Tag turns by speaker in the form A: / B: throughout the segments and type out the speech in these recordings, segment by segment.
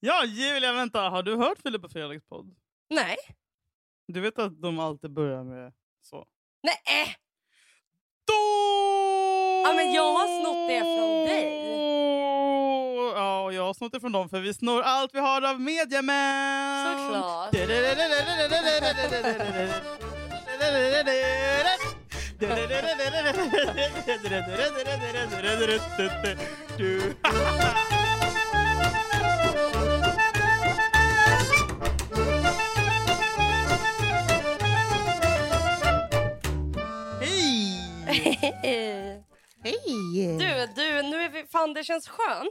A: ja, Julia, vänta. Har du hört Filip och Fredriks podd?
B: Nej.
A: Du vet att de alltid börjar med så.
B: Nej. eh,
A: Då!
B: Ja, men jag har snott det från dig.
A: Ja, och jag har snott det från dem för vi snor allt vi har av mediamän.
B: Såklart.
A: Du. Hej!
C: Hej!
B: Du, du, nu är vi... Fan, det känns skönt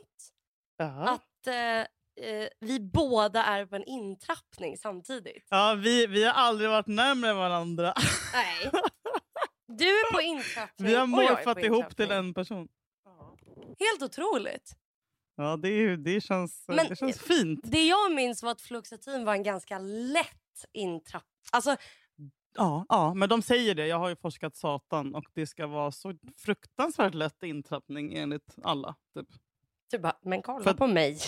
A: Ja.
B: att eh, eh, vi båda är på en intrappning samtidigt.
A: Ja, vi, vi har aldrig varit närmare varandra. Alltså,
B: Nej. Du är på intrappning
A: Vi har
B: och jag är på
A: morfat ihop till
B: intrappning.
A: en person.
B: Helt otroligt.
A: Ja, det, är, ju- det, känns,
B: Men-
A: det känns fint.
B: Det jag minns var att fluoxetin var en ganska lätt intrappning. Alltså,
A: Ja, ja, men de säger det. Jag har ju forskat satan och det ska vara så fruktansvärt lätt intrappning enligt alla. Typ.
B: du bara, men kolla
A: För-
B: på mig.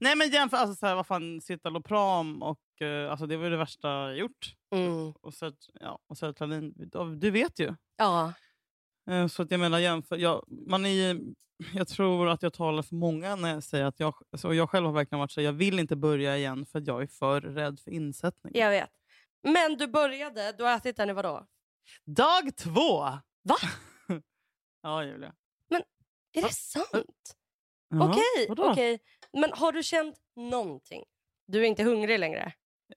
A: Nej, men jämför alltså, så här, vad fan, citalopram och eh, alltså, det var ju det värsta jag gjort.
B: Mm.
A: Och så, ja, och sertralin, du vet ju.
B: Ja.
A: Eh, Så att jag menar, jämför, jag, man är, ju- jag tror att jag talar för många när jag säger att jag, alltså jag själv har verkligen varit så här, jag vill inte börja igen för att jag är för rädd för insättning.
B: Jag vet. Men du började, du har ätit den i vadå?
A: Dag två!
B: Va?
A: ja, Julia.
B: Är
A: Va?
B: det sant?
A: Jaha.
B: Okej,
A: vadå?
B: okej. Men har du känt någonting? Du är inte hungrig längre?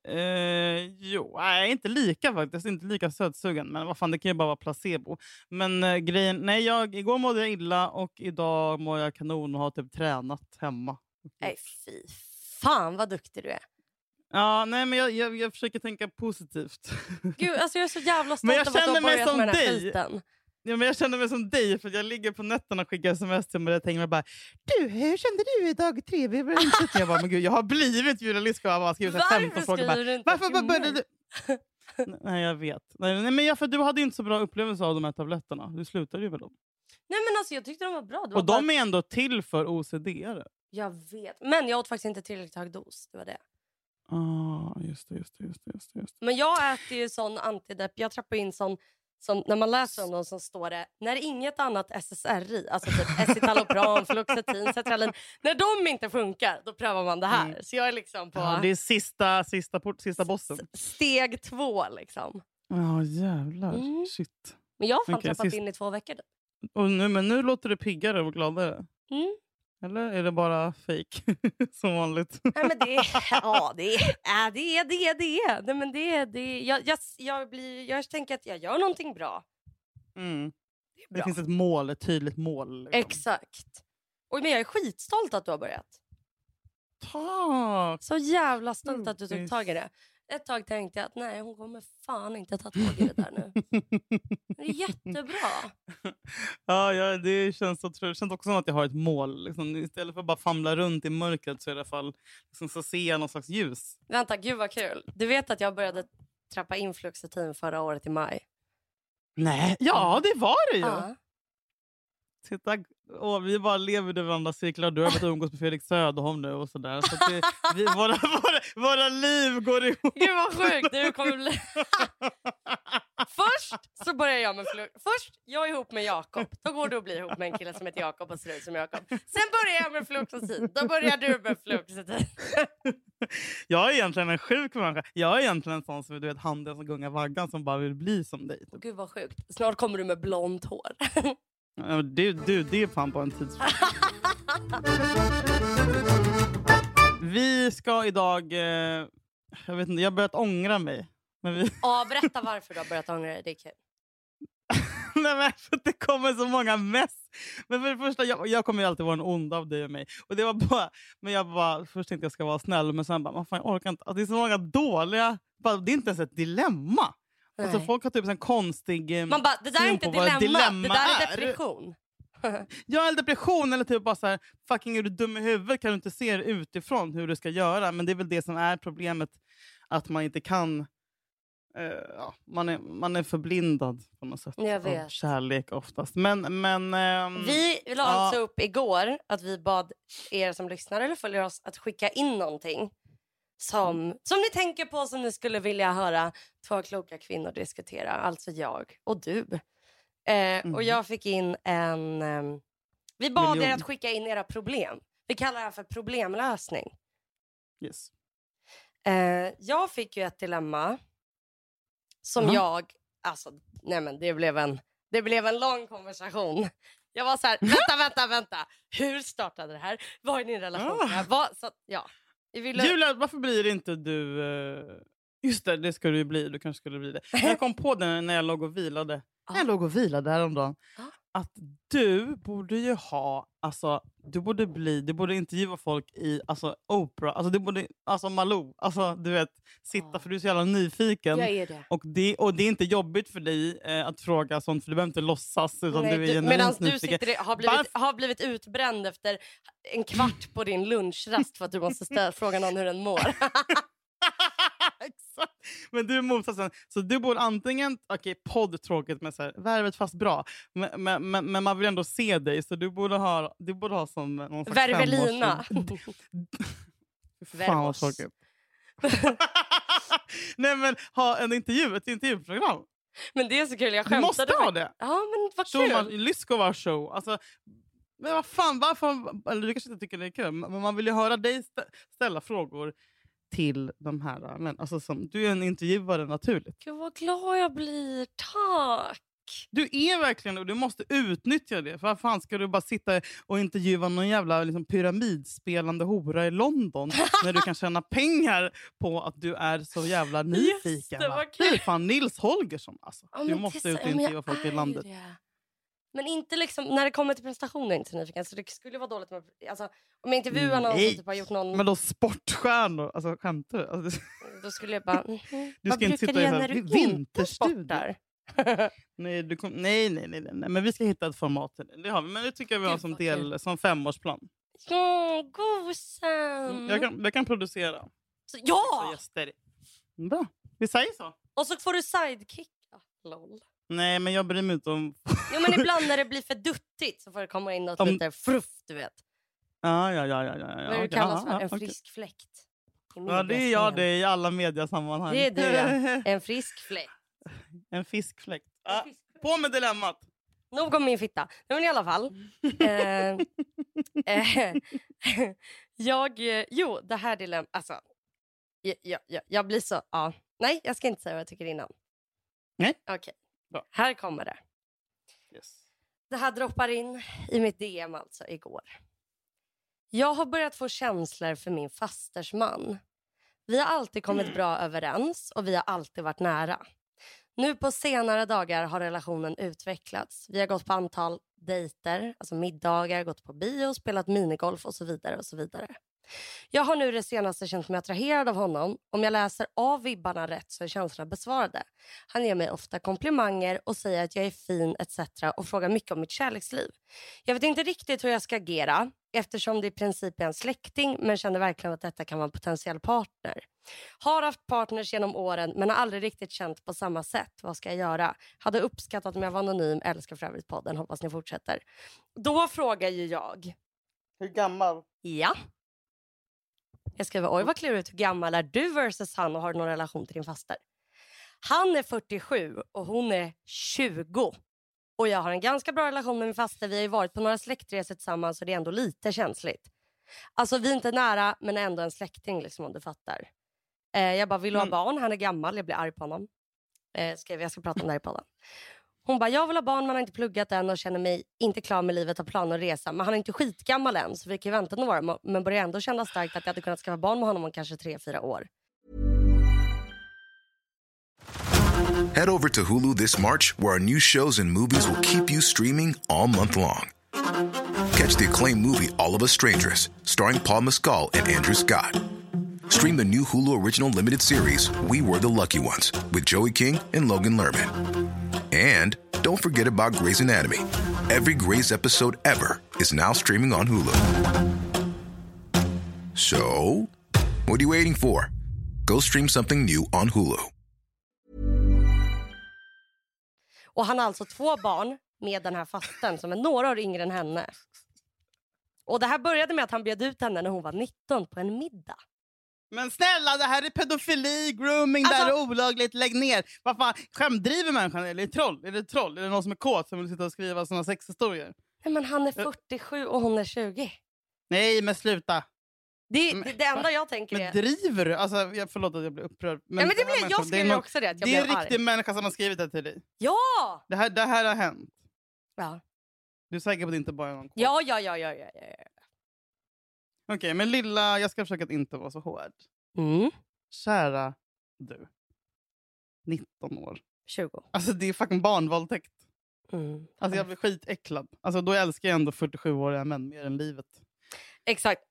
A: Eh, jo, nej, inte lika faktiskt. Inte lika sötsugen. Men vad fan, det kan ju bara vara placebo. Men eh, grejen, nej, jag, igår mådde jag illa och idag mår jag kanon och har typ tränat hemma.
B: Nej, fy fan vad duktig du är.
A: Ja, nej, men jag, jag, jag försöker tänka positivt.
B: Gud, alltså jag är så jävla stolt
A: Men jag
B: över att du
A: känner
B: har
A: mig
B: börjat
A: som
B: med den här
A: dig.
B: skiten.
A: Ja, men jag känner mig som dig, för jag ligger på nätterna och skickar sms till Maria Tengvall och bara “Du, hur kände du i dag tre?” Vi var inte sett." jag bara “Men gud, jag har blivit Julia Lisko och har bara skrivit så här 15
B: Varför
A: frågor”. Bara,
B: skriver du inte
A: Varför
B: till
A: började
B: mig?
A: du? Nej, jag vet. Nej, nej, men jag, för du hade ju inte så bra upplevelse av de här tabletterna. Du slutade ju med dem.
B: Nej men alltså jag tyckte de var bra. Det var
A: Och
B: bara-
A: de är ändå till för OCD-are.
B: Jag vet. Men jag åt faktiskt inte tillräckligt hög dos. Det var det.
A: Ah, just det, just det, just det, just det. Just det.
B: Men jag äter ju sån antidepp. Jag trappar in sån, sån när man läser om dem så står det när inget annat SSRI, alltså typ escitalopram, fluoxetin, sertralin, när de inte funkar då prövar man det här.
A: Mm.
B: Så jag är liksom på
A: Ja, det är sista, sista, port, sista bossen.
B: steg två liksom.
A: Ja, jävlar.
B: Mm.
A: Shit.
B: Men jag har fan
A: Okej,
B: trappat
A: sist-
B: in i två veckor. nu.
A: Och nu, men nu låter du piggare och gladare.
B: Mm.
A: Eller är det bara fake som vanligt?
B: Nej, men det, ja, det, ja, det är det. är det. är. Nej, men det, är- det är- jag, jag, jag, blir, jag tänker att jag gör någonting bra.
A: Mm.
B: Det, är
A: Det
B: bra.
A: finns ett mål, ett tydligt mål. liksom.
B: Exakt. Och, men jag är skitstolt att du har börjat.
A: Tack!
B: Så jävla stolt att du
A: Mm.
B: tog tag i det. Ett tag tänkte jag att nej, hon kommer fan inte ta tag i det där nu. Men Det är jättebra.
A: ja, ja, det känns, otro- det känns också som att jag har ett mål. Liksom, istället för att bara famla runt i mörkret så, i alla fall, liksom, så ser jag någon slags ljus.
B: Vänta, gud vad kul. Du vet att jag började trappa in fluoxetin förra året i maj?
A: Nej, ja, det var det ju!
B: Ja.
A: Titta, åh, vi bara lever i varandras cirklar. Du har börjat umgås med Fredrik Söderholm nu och sådär. Så att det, vi, våra, våra, våra liv går ihop.
B: Gud vad sjukt. Du kommer bli... Först så börjar jag med flu- Först, jag är ihop med Jakob. Då går du och blir ihop med en kille som heter Jakob och ser ut som Jakob. Sen börjar jag med fluoxetin. Då börjar du med fluoxetin.
A: Jag är egentligen en sjuk människa. Jag är egentligen en sån som du vet, handen som gungar vaggan som bara vill bli som dig. typ.
B: Gud vad sjukt. Snart kommer du med blont hår.
A: Ja, Du, du, det är fan bara en tidsfråga. Vi ska idag... Eh, jag vet inte, jag har börjat ångra mig. Men vi,
B: Ja, berätta varför du har börjat ångra dig. Det är kul.
A: nej, men för att det kommer så många mess. Men för det första, jag, jag kommer ju alltid vara en ond av dig och mig. Och det var bara, men jag bara, först tänkte jag ska vara snäll, men sen bara, "Vad fan, jag orkar inte. Alltså, det är så många dåliga... Bara, det är inte ens ett dilemma. Alltså,
B: Nej.
A: folk har typ en konstig... Eh,
B: Man bara, det där är
A: syn
B: inte
A: på vad
B: dilemma,
A: dilemma
B: det där
A: är.
B: är depression.
A: Jag har depression eller typ bara så här, fucking är du dum i huvudet kan du inte se det utifrån hur du ska göra. Men det är väl det som är problemet, att man inte kan eh, ja, man, är, man är förblindad på något sätt
B: Jag
A: av
B: vet.
A: kärlek oftast. Men, men, ehm,
B: Vi la
A: Ja.
B: alltså upp igår att vi bad er som lyssnar eller följer oss att skicka in någonting som, som ni tänker på som ni skulle vilja höra två kloka kvinnor diskutera. Alltså jag och du. Eh, Och jag fick in en... ehm, vi bad er
A: Mm. Miljon.
B: att skicka in era problem. Vi kallar det här för problemlösning.
A: yes.
B: Eh, jag fick ju ett dilemma som
A: Jaha.
B: jag... Alltså, nej men det blev en, det blev en lång konversation. Jag var så här, vänta, vänta, vänta. Hur startade det här? Vad är din relation
A: Ah.
B: till det här? Vad, så, att- ja. Vi ville-
A: Julia, varför blir inte du... eh, Just det, det ska du ju bli. Du kanske skulle bli det. Men Jag kom på det när jag låg och vilade.
B: Ja.
A: När jag låg och vilade häromdagen.
B: Ja.
A: Att du borde ju ha... Alltså, du borde bli... Du borde intervjua folk i alltså, Oprah. Alltså, du borde... Alltså Malou. Alltså, du vet. Sitta,
B: Ja.
A: för du är så jävla nyfiken.
B: Ah. jag är det.
A: Och det, och det är inte jobbigt för dig eh, att fråga sånt, för du behöver inte låtsas. Utan
B: Nej,
A: du är
B: du,
A: genuint
B: medans du
A: nyfiken.
B: sitter, i- har, blivit,
A: Varför-
B: har blivit utbränd efter en kvart på din lunchrast för att du måste ställa, fråga någon hur den mår.
A: Exakt. Men du är motsatsen. Så du bor antingen... Okej, podd tråkigt, men så här, värvet fast bra. Men, men, men, men man vill ändå se dig, så du borde ha, du borde ha som någon slags
B: Vervelina.
A: femårs- Fy Fan vad
B: Vervos.
A: tråkigt. Nej men ha en intervju, ett intervjuprogram.
B: Men det är så kul, jag
A: Du
B: skämtade.
A: måste
B: med-
A: ha det.
B: Ja, men vad kul.
A: Schumann, Lyskova show. Alltså, men vad fan, varför... Eller du kanske inte tycker det är kul, men man vill ju höra dig stä- ställa frågor till de här. Men, alltså, som, du är en intervjuare naturligt.
B: Gud vad glad jag blir. Tack!
A: Du är verkligen och du måste utnyttja det. För vad fan ska du bara sitta och intervjua någon jävla liksom, pyramidspelande hora i London när du kan tjäna pengar på att du är så jävla nyfiken?
B: det,
A: va?
B: vad
A: det
B: kul.
A: är fan Nils Holgersson alltså.
B: Ja,
A: du
B: men
A: måste
B: det är
A: ut
B: så-
A: och
B: ja, men
A: intervjua
B: jag
A: folk
B: är
A: i
B: ju
A: landet.
B: det. Men inte liksom, när det kommer till prestationer är jag inte så nyfiken. Så det skulle vara dåligt med, alltså, om jag intervjuar någon som
A: Mm, Nej.
B: typ har gjort någon...
A: Men då sportstjärnor, alltså skämtar du? Alltså, det-
B: Då skulle jag bara... mhm,
A: Du
B: vad
A: ska
B: brukar
A: inte sitta
B: du
A: i
B: göra
A: så här
B: när du
A: vi-
B: inte
A: vinterstudio.
B: sportar?
A: Nej, du kom, nej, nej, nej, nej, nej, men vi ska hitta ett format till det. det har vi, men det tycker jag vi har
B: Gud,
A: som,
B: vad
A: del, som femårsplan.
B: Ja, gosen!
A: Mm, Jag, kan, jag kan producera.
B: så,
A: Så
B: ja!
A: gäster. Bra, vi säger så.
B: Och så får du sidekicka. Lol.
A: Nej, men jag bryr mig inte om...
B: Jo, men ibland när det blir för duttigt så får det komma in något
A: Om-
B: lite fruff, du vet.
A: Ja, ja, ja, ja, ja, ja,
B: Vad det
A: okej,
B: kallas
A: ja,
B: för.
A: ja,
B: En
A: okej.
B: frisk fläkt. i
A: Ja, det är jag
B: mediasnären.
A: det i alla mediasammanhang.
B: Det är du, ja. En frisk fläkt.
A: en fiskfläkt. Ja, på med dilemmat!
B: Nog om min fitta. Nej, men i alla fall. Eh,
A: Mm.
B: eh, jag... eh, Jo, det här dilemmat... Alltså, jag, jag, jag, jag blir så... Ja. Nej, jag ska inte säga vad jag tycker innan.
A: Nej.
B: Okej.
A: Bra.
B: Här kommer det.
A: Yes.
B: Det här droppar in i mitt DM alltså igår. Jag har börjat få känslor för min fasters man. Vi har alltid kommit bra överens och vi har alltid varit nära. Nu på senare dagar har relationen utvecklats. Vi har gått på antal dejter, alltså middagar, gått på bio, spelat minigolf och så vidare och så vidare. Jag har nu det senaste känt mig attraherad av honom. Om jag läser av vibbarna rätt så är känslorna besvarade. Han ger mig ofta komplimanger och säger att jag är fin etc. och frågar mycket om mitt kärleksliv. Jag vet inte riktigt hur jag ska agera eftersom det i princip är en släkting men känner verkligen att detta kan vara en potentiell partner. Har haft partners genom åren men har aldrig riktigt känt på samma sätt. Vad ska jag göra? Hade uppskattat om jag var anonym. Älskar för övrigt podden. Hoppas ni fortsätter. Då frågar ju jag.
A: Hur gammal?
B: Ja. Jag skriver, oj vad klurigt, hur gammal är du versus han och har du någon relation till din faster? Han är 47 och hon är 20. Och jag har en ganska bra relation med min faster. Vi har ju varit på några släktresor tillsammans och det är ändå lite känsligt. Alltså vi är inte nära men ändå en släkting liksom om du fattar. Eh, jag bara, vill du ha
A: Men-
B: barn? Han är gammal, jag blir arg på honom. Eh, skrev, jag ska prata om det här i podden. Hon bara, jag vill ha barn, man har inte pluggat än och känner mig inte klar med livet, har planer att resa. Men han är inte skitgammal än så vi kan ju vänta några år. Men börjar ändå känna starkt att jag hade kunnat skaffa barn med honom om kanske tre, fyra år.
C: Head over to Hulu this March, where our new shows and movies will keep you streaming all month long. Catch the acclaimed movie All of Us Strangers, starring Paul Mescal and Andrew Scott. Stream the new Hulu original limited series We Were the Lucky Ones with Joey King and Logan Lerman. And don't forget about Grey's Anatomy. Every Grey's episode ever is now streaming on Hulu. So, what are you waiting for? Go stream something new on Hulu.
B: Och han har alltså två barn med den här fasten som är några år yngre än henne. Och det här började med att han bjöd ut henne när hon var 19 på en middag.
A: Men snälla, det här är pedofili, grooming,
B: Alltså-
A: det här är olagligt, lägg ner. Vad fan, skämdriver människan eller är det troll? Är det troll? Är det någon som är kåt som vill sitta och skriva såna sexhistorier?
B: Nej, men han är 47 och hon är 20.
A: Nej, men sluta.
B: Det,
A: Men-
B: det, det enda jag tänker är...
A: Men driver du? Alltså, jag, förlåt att jag blir upprörd.
B: ja, men det
A: den här
B: blev, jag
A: människan,
B: skrev
A: det är
B: ju
A: någon-
B: också det. Att jag
A: Det är
B: blev
A: en
B: arg.
A: riktig människa som har skrivit det till dig.
B: Ja!
A: Det här, det här har hänt.
B: Ja,
A: Du är säker på att det inte bara är någon kåt?
B: ja, ja, ja. ja, ja, ja.
A: Okej, men lilla, jag ska försöka att inte vara så hård.
B: Mm.
A: Kära du. 19 år.
B: 20.
A: Alltså det är fucking barnvåldtäkt.
B: Mm.
A: Alltså jag blir skitäcklad. Alltså då älskar jag ändå 47-åriga män mer än livet.
B: Exakt.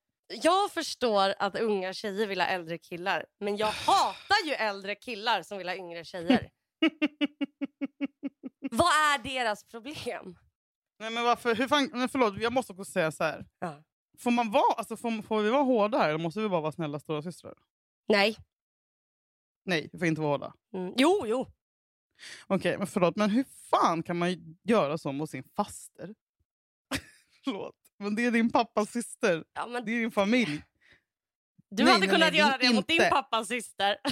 B: Jag förstår att unga tjejer vill ha äldre killar, men jag hatar ju äldre killar som vill ha yngre tjejer. Vad är deras problem?
A: Nej men varför, hur fan, nej, förlåt jag måste också säga så här.
B: Ja.
A: Får, man vara, alltså, får, får vi vara hårda här eller måste vi bara vara snälla stora systrar?
B: Nej.
A: Nej, vi får inte vara hårda.
B: Mm. Jo, jo.
A: Okej, men förlåt, men hur fan kan man göra så mot sin faster? förlåt, men det är din pappas syster.
B: Ja, men
A: Det är din familj.
B: du
A: nej,
B: hade
A: nej,
B: kunnat
A: nej,
B: göra det mot
A: inte.
B: din pappas syster.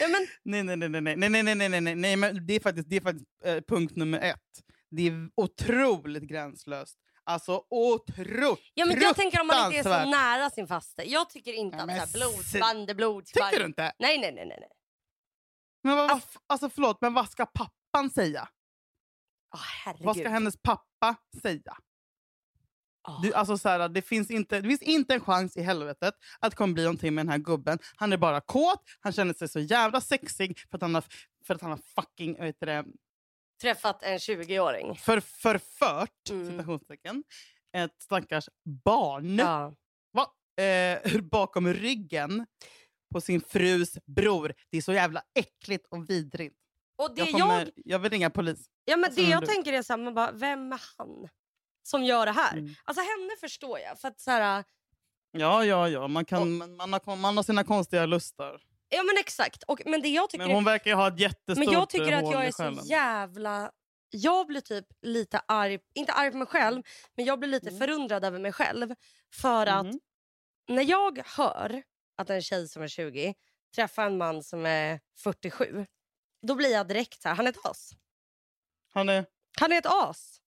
B: ja, men,
A: Nej, nej, nej, nej, nej, nej, nej, nej, nej, nej, nej, nej, men det är faktiskt, det är faktiskt eh, punkt nummer ett. Det är otroligt gränslöst. Alltså otroligt.
B: ja, men jag tänker om man inte är så
A: Fruktansvärt.
B: nära sin faste. Jag tycker inte
A: Ja,
B: att
A: men
B: så här
A: s-
B: blodsband är blodsband.
A: Tycker du inte?
B: Nej, nej, nej. nej. nej.
A: Men vad, vad, alltså förlåt, men vad ska pappan säga?
B: Åh, herregud.
A: Vad ska hennes pappa säga?
B: Åh.
A: Du, alltså så här, det, finns inte, det finns inte en chans i helvetet att det kommer bli någonting med den här gubben. Han är bara kåt, han känner sig så jävla sexig för att han har, för att han har fucking vad heter det,
B: Träffat en 20-åring.
A: för, förfört
B: Mm.
A: citationstecken, ett stackars barn
B: Ja.
A: eh, bakom ryggen på sin frus bror. Det är så jävla äckligt och vidrigt.
B: Och det
A: Jag,
B: jag,
A: kommer, jag... vill ringa polis.
B: ja, men
A: alltså,
B: det
A: men
B: jag
A: du-
B: tänker är så här, man bara, vem är han som gör det här?
A: Mm.
B: Alltså henne förstår jag. För att så här,
A: Ja, ja, ja. Man, kan,
B: Och-
A: man, man, har, man har sina konstiga lustar.
B: ja men exakt. Och, men det jag tycker,
A: Men hon verkar ju ha ett
B: är,
A: jättestort
B: men jag tycker
A: eh,
B: att
A: hål
B: jag
A: i
B: är så
A: själen.
B: jävla... Jag blir typ lite arg, inte arg på mig själv, men jag blir lite
A: Mm.
B: förundrad över mig själv. För att
A: Mhm.
B: när jag hör att en tjej som är 20 träffar en man som är 47, då blir jag direkt så här, han är ett as.
A: Han är...
B: Han är ett as.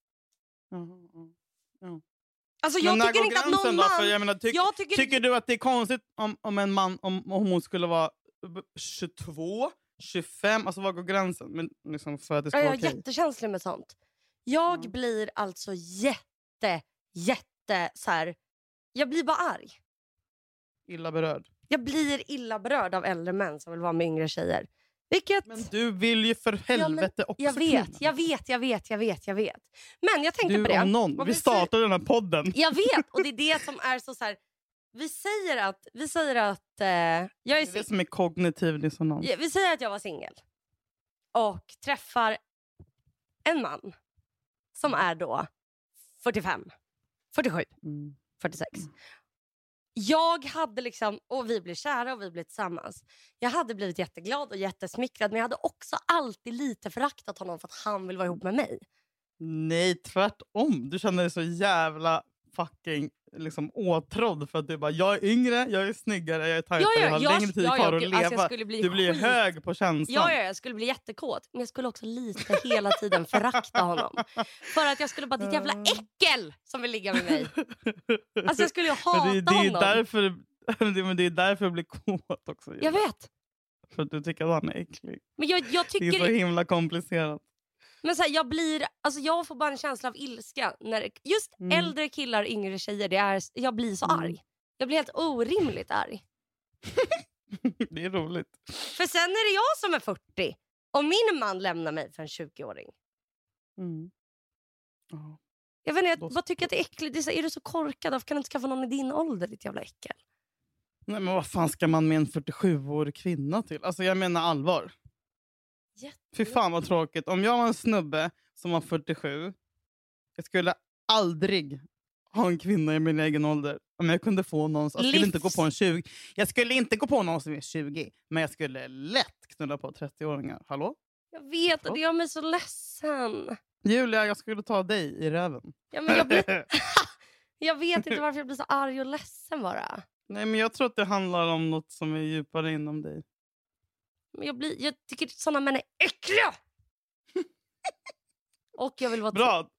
B: Alltså jag
A: Men när
B: tycker
A: går
B: inte att
A: gränsen
B: någon
A: då?
B: man...
A: För jag menar, tyck,
B: jag tycker,
A: tycker du att det är konstigt om, om en man om, om hon skulle vara b- 22, 25? Alltså var går gränsen? Men liksom för att det
B: Ja,
A: ska
B: jag
A: vara
B: är
A: okej.
B: jättekänslig med sånt. Jag
A: Mm.
B: blir alltså jätte, jätte så här, Jag blir bara arg.
A: Illa berörd.
B: Jag blir illa berörd av äldre män som vill vara med yngre tjejer. Vilket...
A: Men alltså, du vill ju för
B: men
A: helvete också
B: jag vet, jag vet, jag vet, jag vet, jag vet. Men jag tänkte
A: Du
B: på det.
A: om någon.
B: Vad
A: Vi
B: vi
A: startade den här podden.
B: Jag vet, och det är det som är så, så här. Vi säger att, vi säger att eh, jag är
A: Det är det
B: singel.
A: som är kognitiv dissonans.
B: Ja, Vi säger att jag var singel och träffar en man som är då 45, 47,
A: Mm.
B: 46. Jag hade liksom, och vi blev kära och vi blev tillsammans. Jag hade blivit jätteglad och jättesmickrad men jag hade också alltid lite föraktat honom för att han vill vara ihop med mig.
A: Nej, tvärtom. Du känner dig så jävla fucking liksom, åtrådd för att du bara jag är yngre, jag är snyggare, jag är tajtare, jag har längre tid kvar att
B: gud, alltså,
A: leva.
B: jag skulle bli
A: Du blir
B: skit-
A: hög på känslan.
B: Ja, ja, jag skulle bli jättekåt. Men jag skulle också lite hela tiden förakta honom. För att jag skulle bara, ditt jävla äckel som vill ligga med mig. Alltså jag skulle ju hata
A: men det, är- det är
B: honom.
A: därför, det, men det är därför jag blir kåt också.
B: Jag vet.
A: För att du tycker att han är äcklig.
B: Men jag, jag
A: Det är så
B: tycker...
A: himla komplicerat.
B: Men så här, jag blir... Alltså jag får bara en känsla av ilska. När, just
A: Mm.
B: äldre killar, yngre tjejer. Det är, jag blir så
A: Mm.
B: arg. Jag blir helt orimligt arg.
A: Det är roligt.
B: För sen är det jag som är 40. Och min man lämnar mig för en 20-åring.
A: Mm. Ja.
B: Jag vet inte,
A: Då
B: jag
A: så.
B: bara tycker att det är äckligt. Det är, så här, är du så korkad? Varför kan du inte skaffa någon i din ålder, ditt jävla äckel?
A: Nej, men vad fan ska man med en 47-årig kvinna till? Alltså jag menar allvar.
B: Jätte-
A: Fy fan vad tråkigt. Om jag var en snubbe som var 47, jag skulle aldrig ha en kvinna i min egen ålder. Om jag kunde få någon, jag skulle inte gå
B: Livs-
A: på en 20. Jag skulle inte gå på någon som är 20, men jag skulle lätt knulla på 30-åringar. Hallå?
B: Jag vet, och det gör mig så ledsen.
A: Julia, jag skulle ta dig i röven.
B: Ja, men jag, blir, jag vet inte varför jag blir så arg och ledsen bara.
A: Nej, men jag tror att det handlar om något som är djupare inom dig.
B: Men jag, blir, jag tycker såna män är äckliga! Och jag vill vara
A: Bra!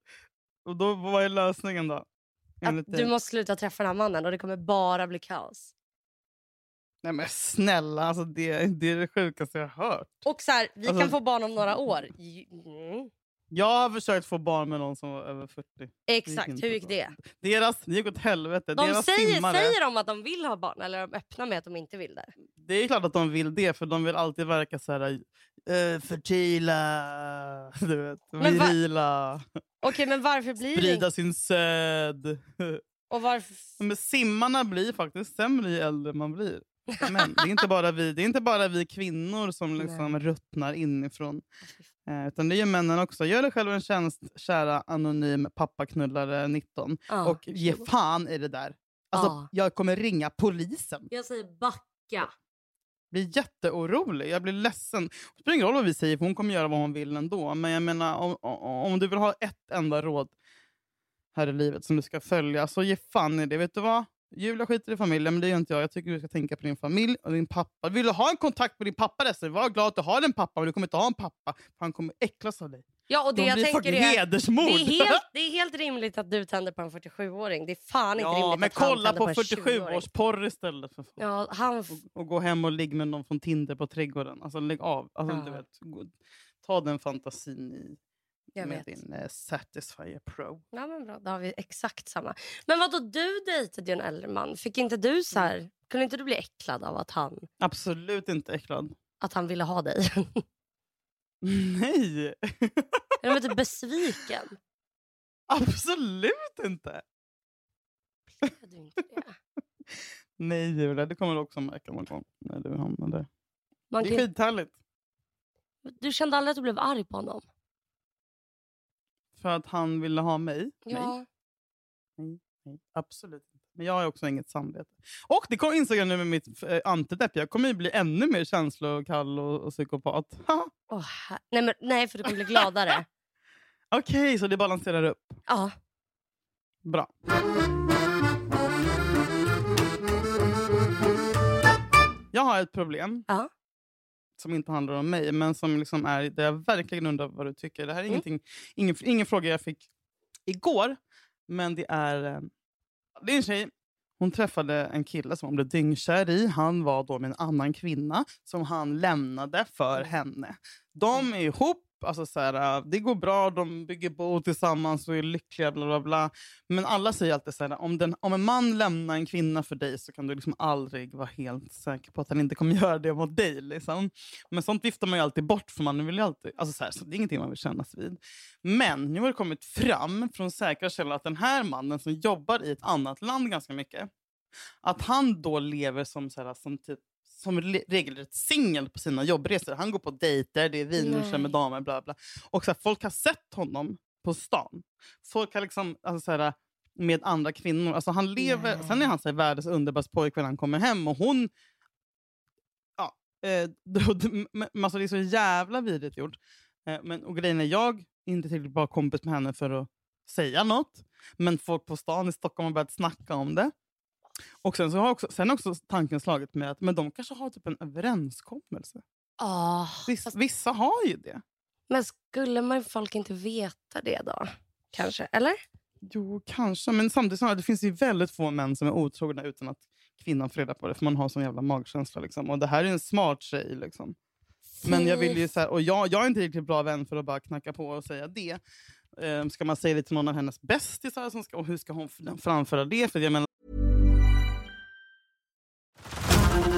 A: Och då, vad är lösningen då?
B: Alltså- att
A: Enligt dig?
B: du måste sluta träffa den här mannen och det kommer bara bli kaos.
A: Nej men snälla, alltså det, det är det sjukaste jag har hört.
B: Och så här, vi
A: Alltså-
B: kan få barn om några år. J- Mm.
A: Jag har försökt få barn med någon som var över 40.
B: Exakt,
A: inte
B: hur gick
A: bra.
B: det?
A: Deras, det gick åt helvete.
B: De
A: Deras
B: säger,
A: simmare,
B: säger de att de vill ha barn eller är de öppna med att de inte vill det?
A: Det är klart att de vill det, för de vill alltid verka så här... eh, fertila, du vet,
B: Men va-
A: virila,
B: Okej, men varför blir det inte?
A: sprida Mm, sin söd.
B: Och varför...
A: Men simmarna blir faktiskt sämre ju äldre man blir. Men det är inte bara vi, det är inte bara vi kvinnor som liksom ruttnar inifrån. Eh, utan det gör männen också. Gör dig själv en tjänst, kära anonym pappaknullare 19.
B: Ah.
A: Och ge fan i det där. Alltså,
B: Ah.
A: Jag kommer ringa polisen.
B: Jag säger backa.
A: blir jätteorolig. Jag blir ledsen. Det spelar ingen roll vad vi säger, för hon kommer göra vad hon vill ändå. Men jag menar, om, om du vill ha ett enda råd här i livet som du ska följa, så ge fan i det. Vet du vad? Julia skiter i familjen, men det gör inte jag. Jag tycker du ska tänka på din familj och din pappa. Vill du ha en kontakt med din pappa resten? Var glad att du har en pappa, men du kommer inte ha en pappa. För han kommer äcklas av dig.
B: Ja, och det
A: De
B: jag
A: blir
B: tänker
A: fucking
B: är...
A: hedersmord!
B: Det är, helt, det är helt rimligt att du tänder på en 47-åring. Det är fan inte
A: ja,
B: rimligt
A: men
B: att han
A: kolla
B: tänder
A: på
B: en 20-åring.
A: 47-årsporr istället. För fan.
B: Ja, han... f-
A: och, och gå hem och ligga med någon från Tinder på trädgården. Alltså lägg av. Alltså, du
B: Ja.
A: vet, gå, ta den fantasin i
B: Jag
A: med
B: vet.
A: din eh, Satisfyer Pro.
B: Ja, men bra, då har vi exakt samma. Men vadå, du dejtade ju en äldre man. Fick inte du så
A: Mm.
B: här... Kunde inte du bli äcklad av att han,
A: Absolut inte äcklad.
B: att han ville ha dig?
A: Nej,
B: Eller var du typ besviken?
A: absolut inte.
B: Är du inte det?
A: Nej, Julia, det kommer du också märka någon gång när du hamnar där.
B: Man
A: Det är
B: kan,
A: skithärligt.
B: du kände aldrig att du blev arg på honom?
A: För att han ville ha mig. Nej,
B: Ja.
A: nej, absolut inte. Men jag har ju också inget samvete. Och det kom, insåg jag nu med mitt eh, antidepp. Jag kommer ju bli ännu mer känslokall och, och psykopat.
B: Åh, her- nej, men, nej, för du kommer bli gladare.
A: Okej, så det balanserar upp.
B: Ja.
A: Bra. Jag har ett problem
B: Ja.
A: som inte handlar om mig, men som liksom är där jag verkligen undrar vad du tycker. Det här är
B: Mm.
A: ingenting, ingen, ingen fråga jag fick igår, men det är, eh, det är en tjej. Hon träffade en kille som hon blev dyngkär i. Han var då med en annan kvinna som han lämnade för
B: Mm.
A: henne. De är ihop, alltså så här, eh, det går bra, de bygger bo tillsammans och är lyckliga. Bla bla bla. Men alla säger alltid så här, om, den, om en man lämnar en kvinna för dig så kan du liksom aldrig vara helt säker på att han inte kommer göra det mot dig. Liksom. Men sånt viftar man ju alltid bort för man vill ju alltid, alltså så, här, så det är ingenting man vill kännas vid. Men nu har det kommit fram från säkra källor att den här mannen som jobbar i ett annat land ganska mycket, att han då lever som, så här, som typ som le- regelrätt singel på sina jobbresor. Han går på dejter, det är vinruscher med
B: Nej.
A: damer, bla bla. Och så här, folk har sett honom på stan. Folk har liksom, alltså så här, med andra kvinnor. Alltså han lever,
B: Nej.
A: Sen är han så här, världens underbaraste pojkvän när han kommer hem och hon... Ja, eh, då, d- men- men alltså det är så jävla vidrigt gjort. Eh, men, och grejen är, jag är inte tillräckligt bra kompis med henne för att säga något. Men folk på stan i Stockholm har börjat snacka om det. Och sen så har också, sen har också tanken slagit mig att men de kanske har typ en överenskommelse.
B: Ah,
A: Viss,
B: fast-
A: Vissa har ju det.
B: Men skulle man folk inte veta det då? Kanske, eller?
A: Jo, kanske. Men samtidigt så här, det finns ju väldigt få män som är otrogna utan att kvinnan får reda på det. För man har sån jävla magkänsla. Liksom. Och det här är ju en smart tjej. Liksom. Men jag vill ju så här, och jag, jag är inte riktigt bra vän för att bara knacka på och säga det. Ehm, ska man säga det till någon av hennes bästisar? som ska- Och hur ska hon f- framföra det? För jag menar,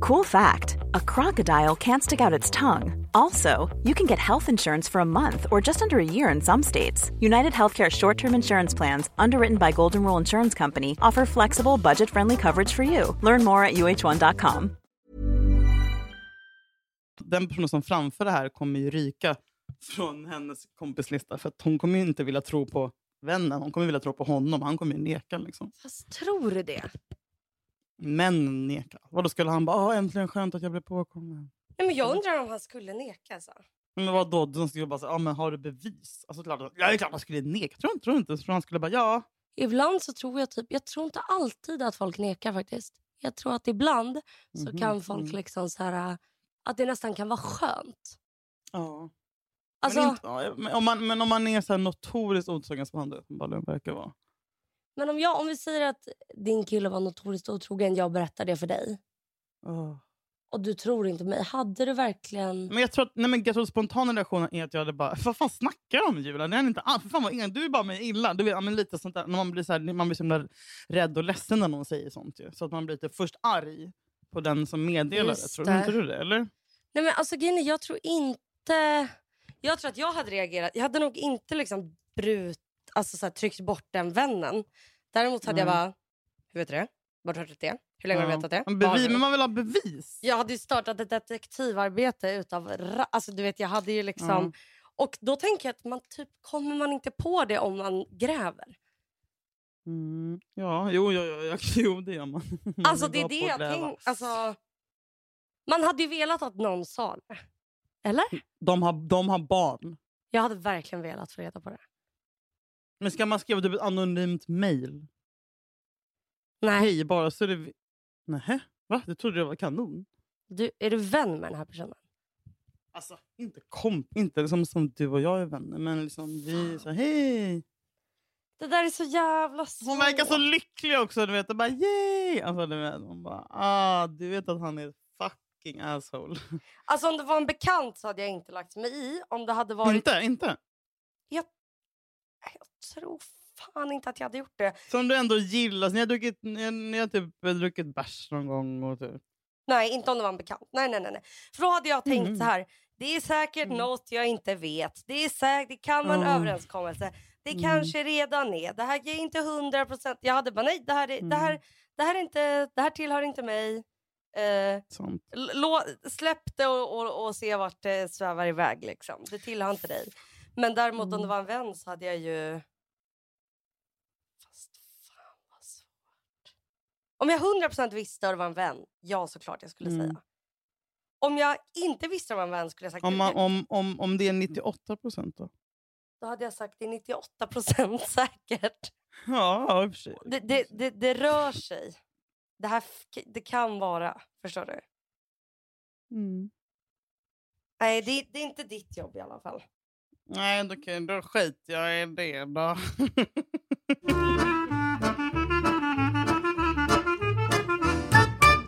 D: Cool fact a crocodile can't stick out its tongue. Also, you can get health insurance for a month or just under a year in some states. United Healthcare short term insurance plans, underwritten by Golden Rule Insurance Company, offer flexible, budget friendly coverage for you. Learn more at uh1.com.
A: Den personen som framför det här kommer ju ryka från hennes kompislista för att hon kommer ju inte vilja tro på vännen. Hon kommer vilja tro på honom. Han kommer ju neka. Liksom.
B: Fast tror du det?
A: Männen nekar. Vadå skulle han bara "Ah, “äntligen skönt att jag blev påkommen”?
B: Nej, men
A: Mm.
B: jag undrar om han skulle neka. Alltså.
A: Men vadå? De skulle bara säga “ja men har du bevis?” alltså, klart, Ja det är klart han skulle neka. Tror du tror du inte? Så han skulle bara “ja”.
B: Ibland så tror jag typ, jag tror inte alltid att folk nekar faktiskt. Jag tror att ibland så
A: Mhm,
B: kan folk
A: mm.
B: liksom så här, äh, att det nästan kan vara skönt.
A: ja.
B: Alltså,
A: Men,
B: men,
A: inte, ja, men, om man, men om man är så här notoriskt otrogen som han uppenbarligen verkar vara.
B: om, jag, om vi säger att din kille var notoriskt otrogen, jag berättar det för dig
A: Ah.
B: och du tror inte mig. Hade du verkligen...
A: Men jag tror att nej, men jag tror att spontana reaktionen är att jag hade bara, vad fan snackar du om Julia? Det är inte alls, för fan vad ingen, du är bara mig illa. Du vet, ja, men lite sånt där. När man, blir så här, man blir så himla rädd och ledsen när någon säger sånt. Ju. Så att man blir lite först arg på den som meddelar det.
B: Just
A: Tror du
B: det.
A: inte du det? Eller?
B: Nej men alltså grejen är, jag tror inte... Jag tror att jag hade reagerat. Jag hade nog inte liksom brut, alltså så här, tryckt bort den vännen. Däremot hade
A: Nej.
B: jag bara, hur vet du det? Vart har du hört det? Hur länge har du vetat det?
A: Men,
B: Vad har
A: bevis,
B: du?"
A: men man vill ha bevis.
B: Jag hade ju startat ett detektivarbete utav... ra- Alltså du vet, jag hade ju liksom...
A: Ja.
B: Och då tänker jag att man typ kommer man inte på det om man gräver.
A: Mm, ja, jo, jo, jo, jo, jo, det gör man. Man
B: Alltså
A: vill
B: det är
A: bara
B: det jag
A: pågräva.
B: tänker. Alltså, man hade ju velat att någon sa det. Eller?
A: de, har, de har barn.
B: Jag hade verkligen velat få reda på det.
A: Men ska man skriva typ ett anonymt mejl?
B: Nej,
A: Hej, bara så är det... Nähä? Va? Det trodde jag var kanon.
B: du, är du vän med den här personen?
A: Alltså, inte kom, inte liksom som du och jag är vänner, men liksom vi så här, hej.
B: Det där är så jävla svårt.
A: Hon verkar så lycklig också, du vet. Och bara yay! Alltså, du vet, hon bara, ah, du vet att han är ett fucking asshole.
B: Alltså om det var en bekant så hade jag inte lagt mig i. Om det hade varit...
A: Inte, inte.
B: Jag tror fan inte att jag hade gjort det.
A: Som du ändå gillar. Så Ni har, druckit, ni, har- ni har typ druckit bärs någon gång. Och typ.
B: Nej, inte om det var en bekant. Nej, nej, nej. nej. För då hade jag tänkt
A: Mm.
B: så här. Det är säkert något jag inte vet. Det, är säkert, det kan vara en
A: Ja.
B: överenskommelse. Det
A: Mm.
B: kanske redan är. Det här är inte hundra procent. Jag hade bara nej, det här, är, det här,
A: Mm.
B: det här, är inte, det här tillhör inte mig. Eh,
A: Sånt.
B: l- lå, släpp det och, och, och se vart det svävar iväg. Liksom. Det tillhör inte dig. Men däremot
A: Mm.
B: om det var en vän så hade jag ju... Fast fan vad svårt. Om jag 100% visste att det var en vän, ja såklart jag skulle
A: Mm.
B: säga. Om jag inte visste att det var en vän skulle jag sagt
A: Om, man,
B: det.
A: om, om, om det är 98 procent då?
B: Då hade jag sagt det är 98% säkert.
A: Ja, ja, i och för sig.
B: Det, det, det, det rör sig. Det här f- det kan vara, förstår du?
A: Mm.
B: Nej, det, det är inte ditt jobb i alla fall.
A: Nej, då, kan- då skiter jag i det då.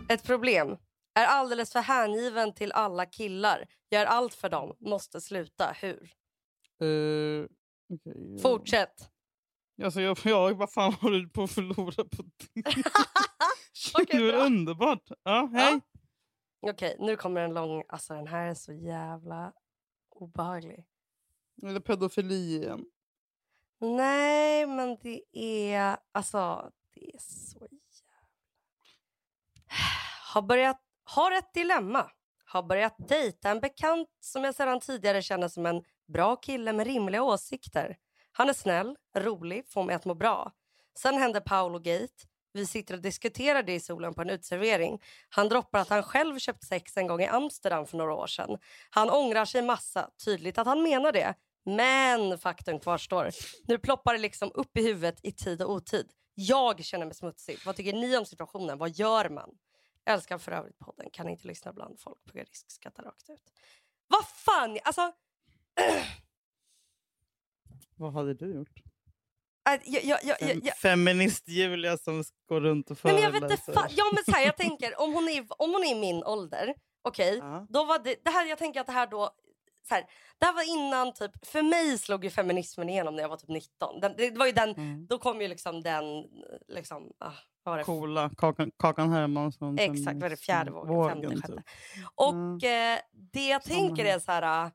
B: Ett problem. Är alldeles för hängiven till alla killar. Gör allt för dem. Måste sluta. Hur?
A: Eh, okej, ja.
B: Fortsätt.
A: Alltså jag, jag, vad fan har du på att förlora på det? det är väl
B: bra.
A: underbart. Ja, hej.
B: Okej, nu kommer en lång... Alltså den här är så jävla obehaglig.
A: Eller pedofili igen.
B: Nej, men det är... Alltså, det är så jävla... Har börjat... Har ett dilemma. Har börjat dejta en bekant som jag sedan tidigare känner som en bra kille med rimliga åsikter. Han är snäll, rolig, får mig att må bra. Sen händer Paolo Gate. Vi sitter och diskuterar det i solen på en utservering. Han droppar att han själv köpt sex en gång i Amsterdam för några år sedan. Han ångrar sig massa, tydligt att han menar det. Men faktum kvarstår. Nu ploppar det liksom upp i huvudet i tid och otid. Jag känner mig smutsig. Vad tycker ni om situationen? Vad gör man? Jag älskar för övrigt podden. Kan inte lyssna bland folk på risk skrattar rakt ut. Vad fan! Alltså,
A: Vad hade du gjort?
B: äh, jag, jag, jag, jag, jag,
A: Feminist-Julia som går runt och
B: Nej, men jag vet
A: föreläser.
B: inte fan. Ja, men så här, jag tänker, om hon är, om hon är i min ålder, okej,
A: Ja.
B: då var det, det här, jag tänker att det här då så här, det här var innan, typ, för mig slog ju feminismen igenom när jag var typ 19. Den, det var ju den,
A: Mm.
B: Då kom ju liksom den, liksom, ah, vad var det?
A: Coola Kakan, kakan Hermansson. typ.
B: Exakt, vad är det? Fjärde vågen, femte, sjätte. Och eh, det jag
A: Samma
B: tänker
A: här.
B: är så här... ah,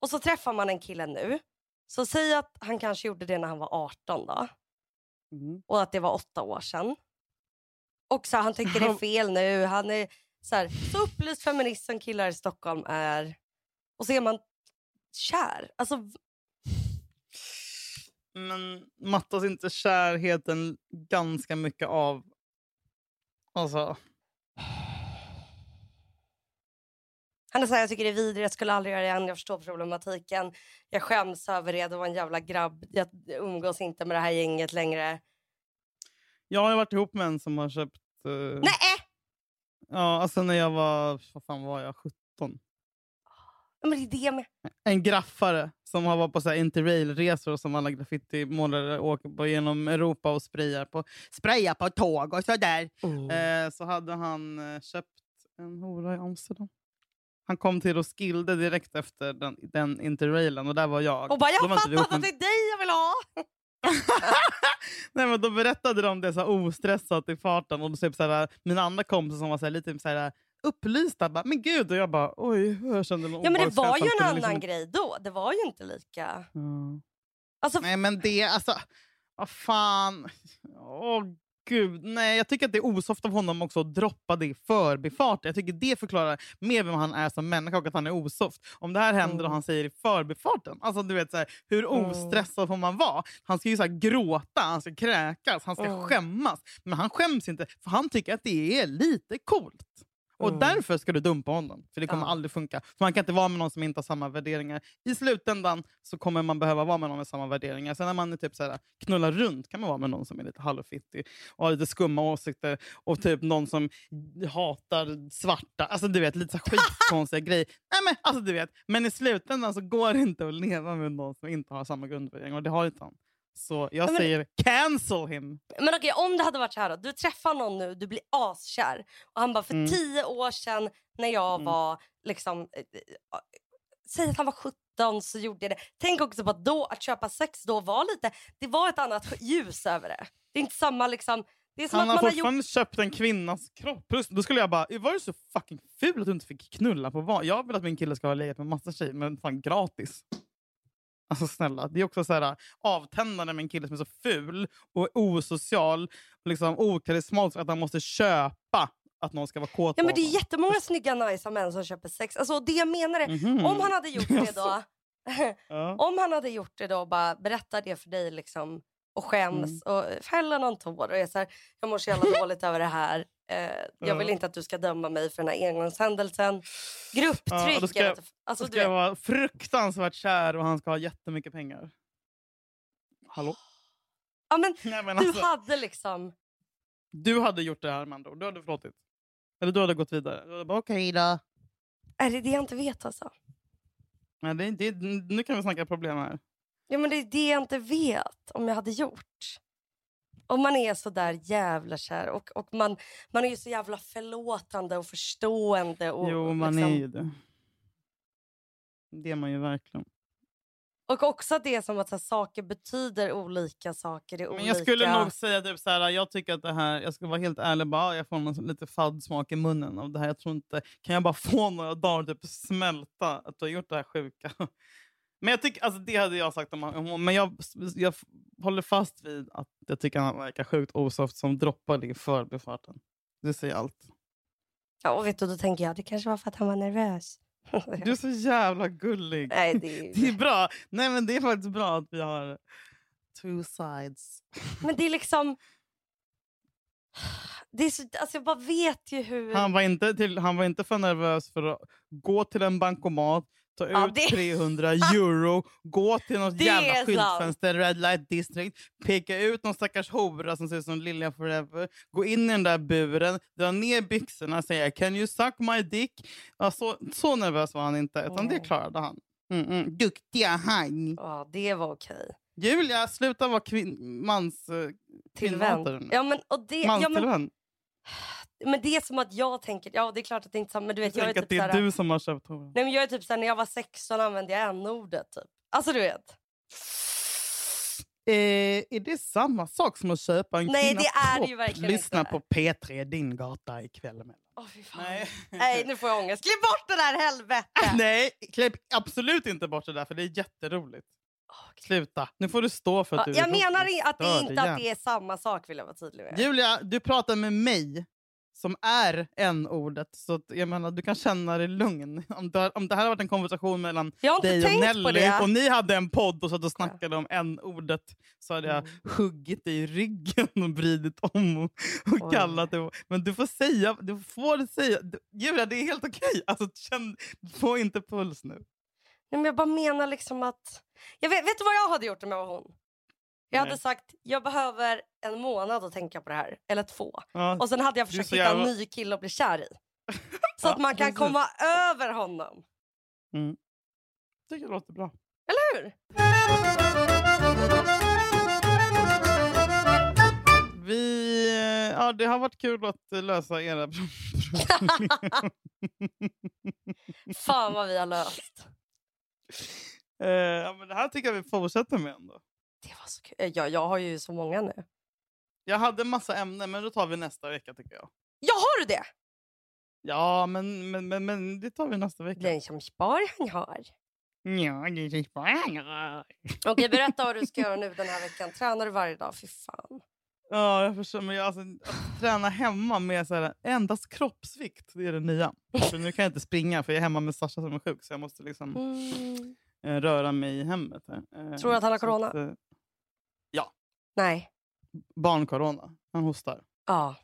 B: Och så träffar man en kille nu. Så säg att han kanske gjorde det när han var 18 då.
A: Mm.
B: Och att det var åtta år sedan. Och så han tycker det är fel nu. Han är så, här, så upplyst feminist som killar i Stockholm är. Och så är man kär. Alltså, v-
A: Men mattas inte kärheten ganska mycket av... Alltså...
B: han är så här, jag tycker det är vidrigt, jag skulle aldrig göra det igen, jag förstår problematiken. Jag skäms över det, det var en jävla grabb. Jag umgås inte med det här gänget längre.
A: Jag har ju varit ihop med en som har köpt... eh,
B: Nej!
A: Ja, alltså när jag var... Vad fan var jag? 17?
B: Men det är det jag menar.
A: En graffare som har varit på så här interrailresor och som alla graffitimålare åker på genom Europa och sprayar på, sprayar på tåg och sådär.
B: Oh.
A: Eh, så hade han eh, köpt en hora i Amsterdam. Han kom till Roskilde direkt efter den, den interrailen och där var jag.
B: Och bara, jag
A: Då var inte
B: fattar
A: vi ihop,
B: att
A: men-
B: det är dig jag vill ha!
A: Nej, men då berättade de det så här ostressat i farten. Och typ så här, mina andra kompisar som var så här, lite så här, upplysta bara “men gud” och jag bara “oj, jag kände någon
B: Ja men det
A: obehagskänsla,
B: var ju en
A: skulle
B: annan
A: liksom inte-
B: grej då. Det var ju inte lika...
A: Ja.
B: Alltså,
A: Nej men det, alltså, vad fan. Åh gud, nej jag tycker att det är osoft av honom också att droppa det i förbifarten. Jag tycker det förklarar mer vem han är som människa och att han är osoft. Om det här händer och han säger i förbifarten, alltså du vet så här, hur ostressad får man vara? Han ska ju så här, gråta, han ska kräkas, han ska skämmas. Men han skäms inte för han tycker att det är lite coolt. Och därför ska du dumpa honom. För det kommer
B: Ja.
A: aldrig funka. För man kan inte vara med någon som inte har samma värderingar. I slutändan så kommer man behöva vara med någon med samma värderingar. Sen när man är typ så här, knullar runt kan man vara med någon som är lite halvfittig och har lite skumma åsikter och typ någon som hatar svarta. Alltså du vet, lite så här skitkonstiga grejer. Nej, men, alltså, du vet. men i slutändan så går det inte att leva med någon som inte har samma grundvärderingar. Och det har inte han. Så jag
B: Ja, men-
A: säger cancel him.
B: Men okej, om det hade varit så här då. Du träffar någon nu, du blir askär. Och han bara, för
A: Mm.
B: tio år sedan när jag
A: Mm.
B: var liksom... eh, eh, Säg att han var 17 så gjorde jag det. Tänk också på att då, att köpa sex då var lite... Det var ett annat ljus över det. Det är inte samma liksom... Det är som
A: Han
B: att
A: har
B: man har gjort...
A: fortfarande köpt en kvinnas kropp. Plus, då skulle jag bara, var du så fucking ful att du inte fick knulla på van? Jag vill att min kille ska ha legat med massa tjejer, men fan gratis. Alltså snälla, det är också så här avtändande med en kille som är så ful och osocial och liksom okarismatisk att han måste köpa att någon ska vara kåt
B: Ja,
A: på
B: men det är
A: honom.
B: jättemmånga snygga, nice män som köper sex. Alltså, det jag menar är,
A: Mhm.
B: om han Alltså, hade gjort det då...
A: ja.
B: Om han hade gjort det då och bara berättar det för dig liksom, och skäms
A: Mm.
B: och fäller någon tår och är så här, jag mår så jävla dåligt över det här. Eh, jag vill
A: Ja.
B: inte att du ska döma mig för den här engångshändelsen. Grupptryck.
A: Ja, då ska
B: jag
A: jag-
B: vet inte. alltså,
A: Då
B: du
A: ska jag
B: vet,
A: vara fruktansvärt kär och han ska ha jättemycket pengar. Hallå?
B: ja, men,
A: Nej, men
B: du
A: alltså.
B: hade liksom...
A: Du hade gjort det här med andra ord. Du hade förlåtit. Eller du hade gått vidare. Du hade bara, Okej då.
B: Är det det jag inte vet alltså?
A: Nej, det, det, nu kan vi snacka problem här.
B: Ja, men det är det jag inte vet om jag hade gjort. Om man är så där jävla kär och, och man, man är ju så jävla förlåtande och förstående. Och,
A: jo,
B: och
A: man
B: liksom,
A: är ju det. Det är man ju verkligen.
B: Och också att det är som att så här, saker betyder olika saker. Är olika.
A: Men jag skulle nog säga typ så här, jag tycker att det här, jag ska vara helt ärlig, bara, jag får någon sån lite fadd smak i munnen av det här. Jag tror inte, kan jag bara få några dagar typ smälta att du har gjort det här sjuka? Men jag tycker, alltså det hade jag sagt om, han- om hon- men jag, jag håller fast vid att jag tycker han verkar sjukt osoft som droppar det i förbifarten. Det säger allt.
B: Ja, och vet du, då tänker jag det kanske var för att han var nervös.
A: Du är så jävla gullig.
B: Nej, det
A: Det är
B: är...
A: bra. Nej, men det är faktiskt bra att vi har two sides.
B: Men det är liksom... Det är så... alltså, jag bara vet ju hur...
A: Han var inte, till, han var inte för nervös för att gå till en bankomat, ta ut
B: Ja, det-
A: 300 euro, gå till något
B: Det är
A: jävla
B: sant.
A: skyltfönster, Red Light District, peka ut någon stackars hora som ser ut som Lilja Forever, gå in i den där buren, dra ner byxorna, säga “Can you suck my dick?” ja, så, så nervös var han inte, utan det
B: Nej.
A: klarade han. Mm, mm. Duktiga han!
B: Ja, det var okej.
A: Julia, sluta vara kvin- mans... eh,
B: Tillvänd.
A: Kvinnhatare nu.
B: Ja, men, och det... ja, men
A: Manstillvänd.
B: Men det är som att jag tänker, ja det är klart att det inte är samma, men du vet jag, är
A: Tänk
B: typ
A: att det är
B: såhär,
A: du som har köpt horan.
B: nej men jag är typ såhär, när jag var 16 använde jag n-ordet typ. Alltså du vet.
A: Eh, är det samma sak som att köpa en
B: Nej,
A: kvinnas
B: det är
A: kropp?
B: ju verkligen
A: Lyssna
B: inte.
A: på P3 Din gata ikväll. Med.
B: Åh fy fan. Nej. nu får jag ångest. Klipp bort det där helvete!
A: Nej, klipp absolut inte bort det där för det är jätteroligt.
B: Åh, gud.
A: Sluta, nu får du stå för
B: Ja,
A: att du
B: jag menar i- att det är
A: Störd
B: inte att
A: igen.
B: det är samma sak vill jag vara tydlig med.
A: Julia, du pratar med mig som är n-ordet. Så att, jag menar, du kan känna dig lugn. Om det, om det här har varit en konversation mellan
B: Jag har inte
A: dig och
B: tänkt på
A: Nelly
B: det.
A: och ni hade en podd och satt och snackade om n-ordet så hade jag
B: Mm.
A: huggit dig i ryggen och vridit om och, och
B: Oj.
A: kallat det. Men du får säga, du får säga. du- Julia, det är helt okej. Alltså, känn, få inte puls nu.
B: Nej, men jag bara menar liksom att... Jag vet, vet du vad jag hade gjort om jag var hon? Jag hade
A: Nej.
B: sagt jag behöver en månad att tänka på det här, eller två.
A: Ja.
B: Och sen hade jag
A: Du är
B: försökt
A: så
B: hitta en
A: jävla-
B: ny kille att bli kär i. Så att
A: Ja,
B: man kan
A: precis.
B: komma över honom.
A: Jag tycker det låter bra.
B: Eller hur?
A: Vi, eh, ja, det har varit kul att eh, lösa era problem.
B: Fan vad vi har löst.
A: Eh, ja, men det här tycker jag vi fortsätter med ändå.
B: Det var så kul. Jag, jag har ju så många nu.
A: Jag hade en massa ämnen, men då tar vi nästa vecka tycker jag.
B: Ja, har du det?
A: Ja, men, men, men, men det tar vi nästa vecka.
B: Den som spar liksom han har.
A: Ja, det är bara-
B: Okej, berätta vad du ska göra nu den här veckan. Tränar du varje dag? Fy fan.
A: Ja, jag förstår. Men jag, alltså, att träna hemma med så här, endast kroppsvikt, det är det nya. För nu kan jag inte springa, för jag är hemma med Sasha som är sjuk. Så jag måste liksom
B: Mm.
A: eh, röra mig i hemmet. här. Eh,
B: Tror du att han har
A: så att,
B: corona?
A: eh,
B: Nej.
A: Barncorona. Han hostar.
B: Ja.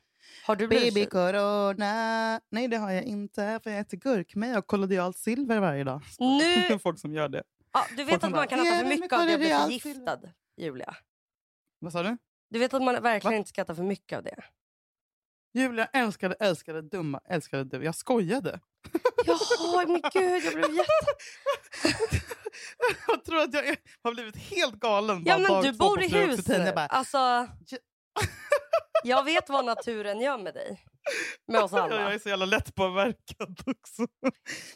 B: Har du blivit
A: Baby corona. Nej, det har jag inte. För jag äter gurkmeja och kollodialt silver varje dag.
B: Nu
A: Det är folk som gör det.
B: Ja, du
A: Folk
B: vet
A: som
B: att
A: bara,
B: man kan äta
A: "Ja,
B: för
A: men
B: mycket
A: kolla,
B: av det och
A: det
B: bli
A: är allt
B: förgiftad, Julia.
A: Vad sa du?
B: Du vet att man verkligen
A: Va?
B: inte ska äta för mycket av det.
A: Julia älskade, älskade, dumma, älskade du. Jag skojade.
B: Jaha, men gud, jag blev jätte...
A: jag tror att jag är, har blivit helt galen.
B: Ja,
A: bara
B: men
A: dag
B: du
A: två på
B: bor i hus
A: fluoxetin.
B: nu.
A: Jag bara,
B: Alltså,
A: "Ja."
B: jag vet vad naturen gör med dig. Med oss
A: Ja, Jag
B: alla.
A: är så jävla lättpåverkad också.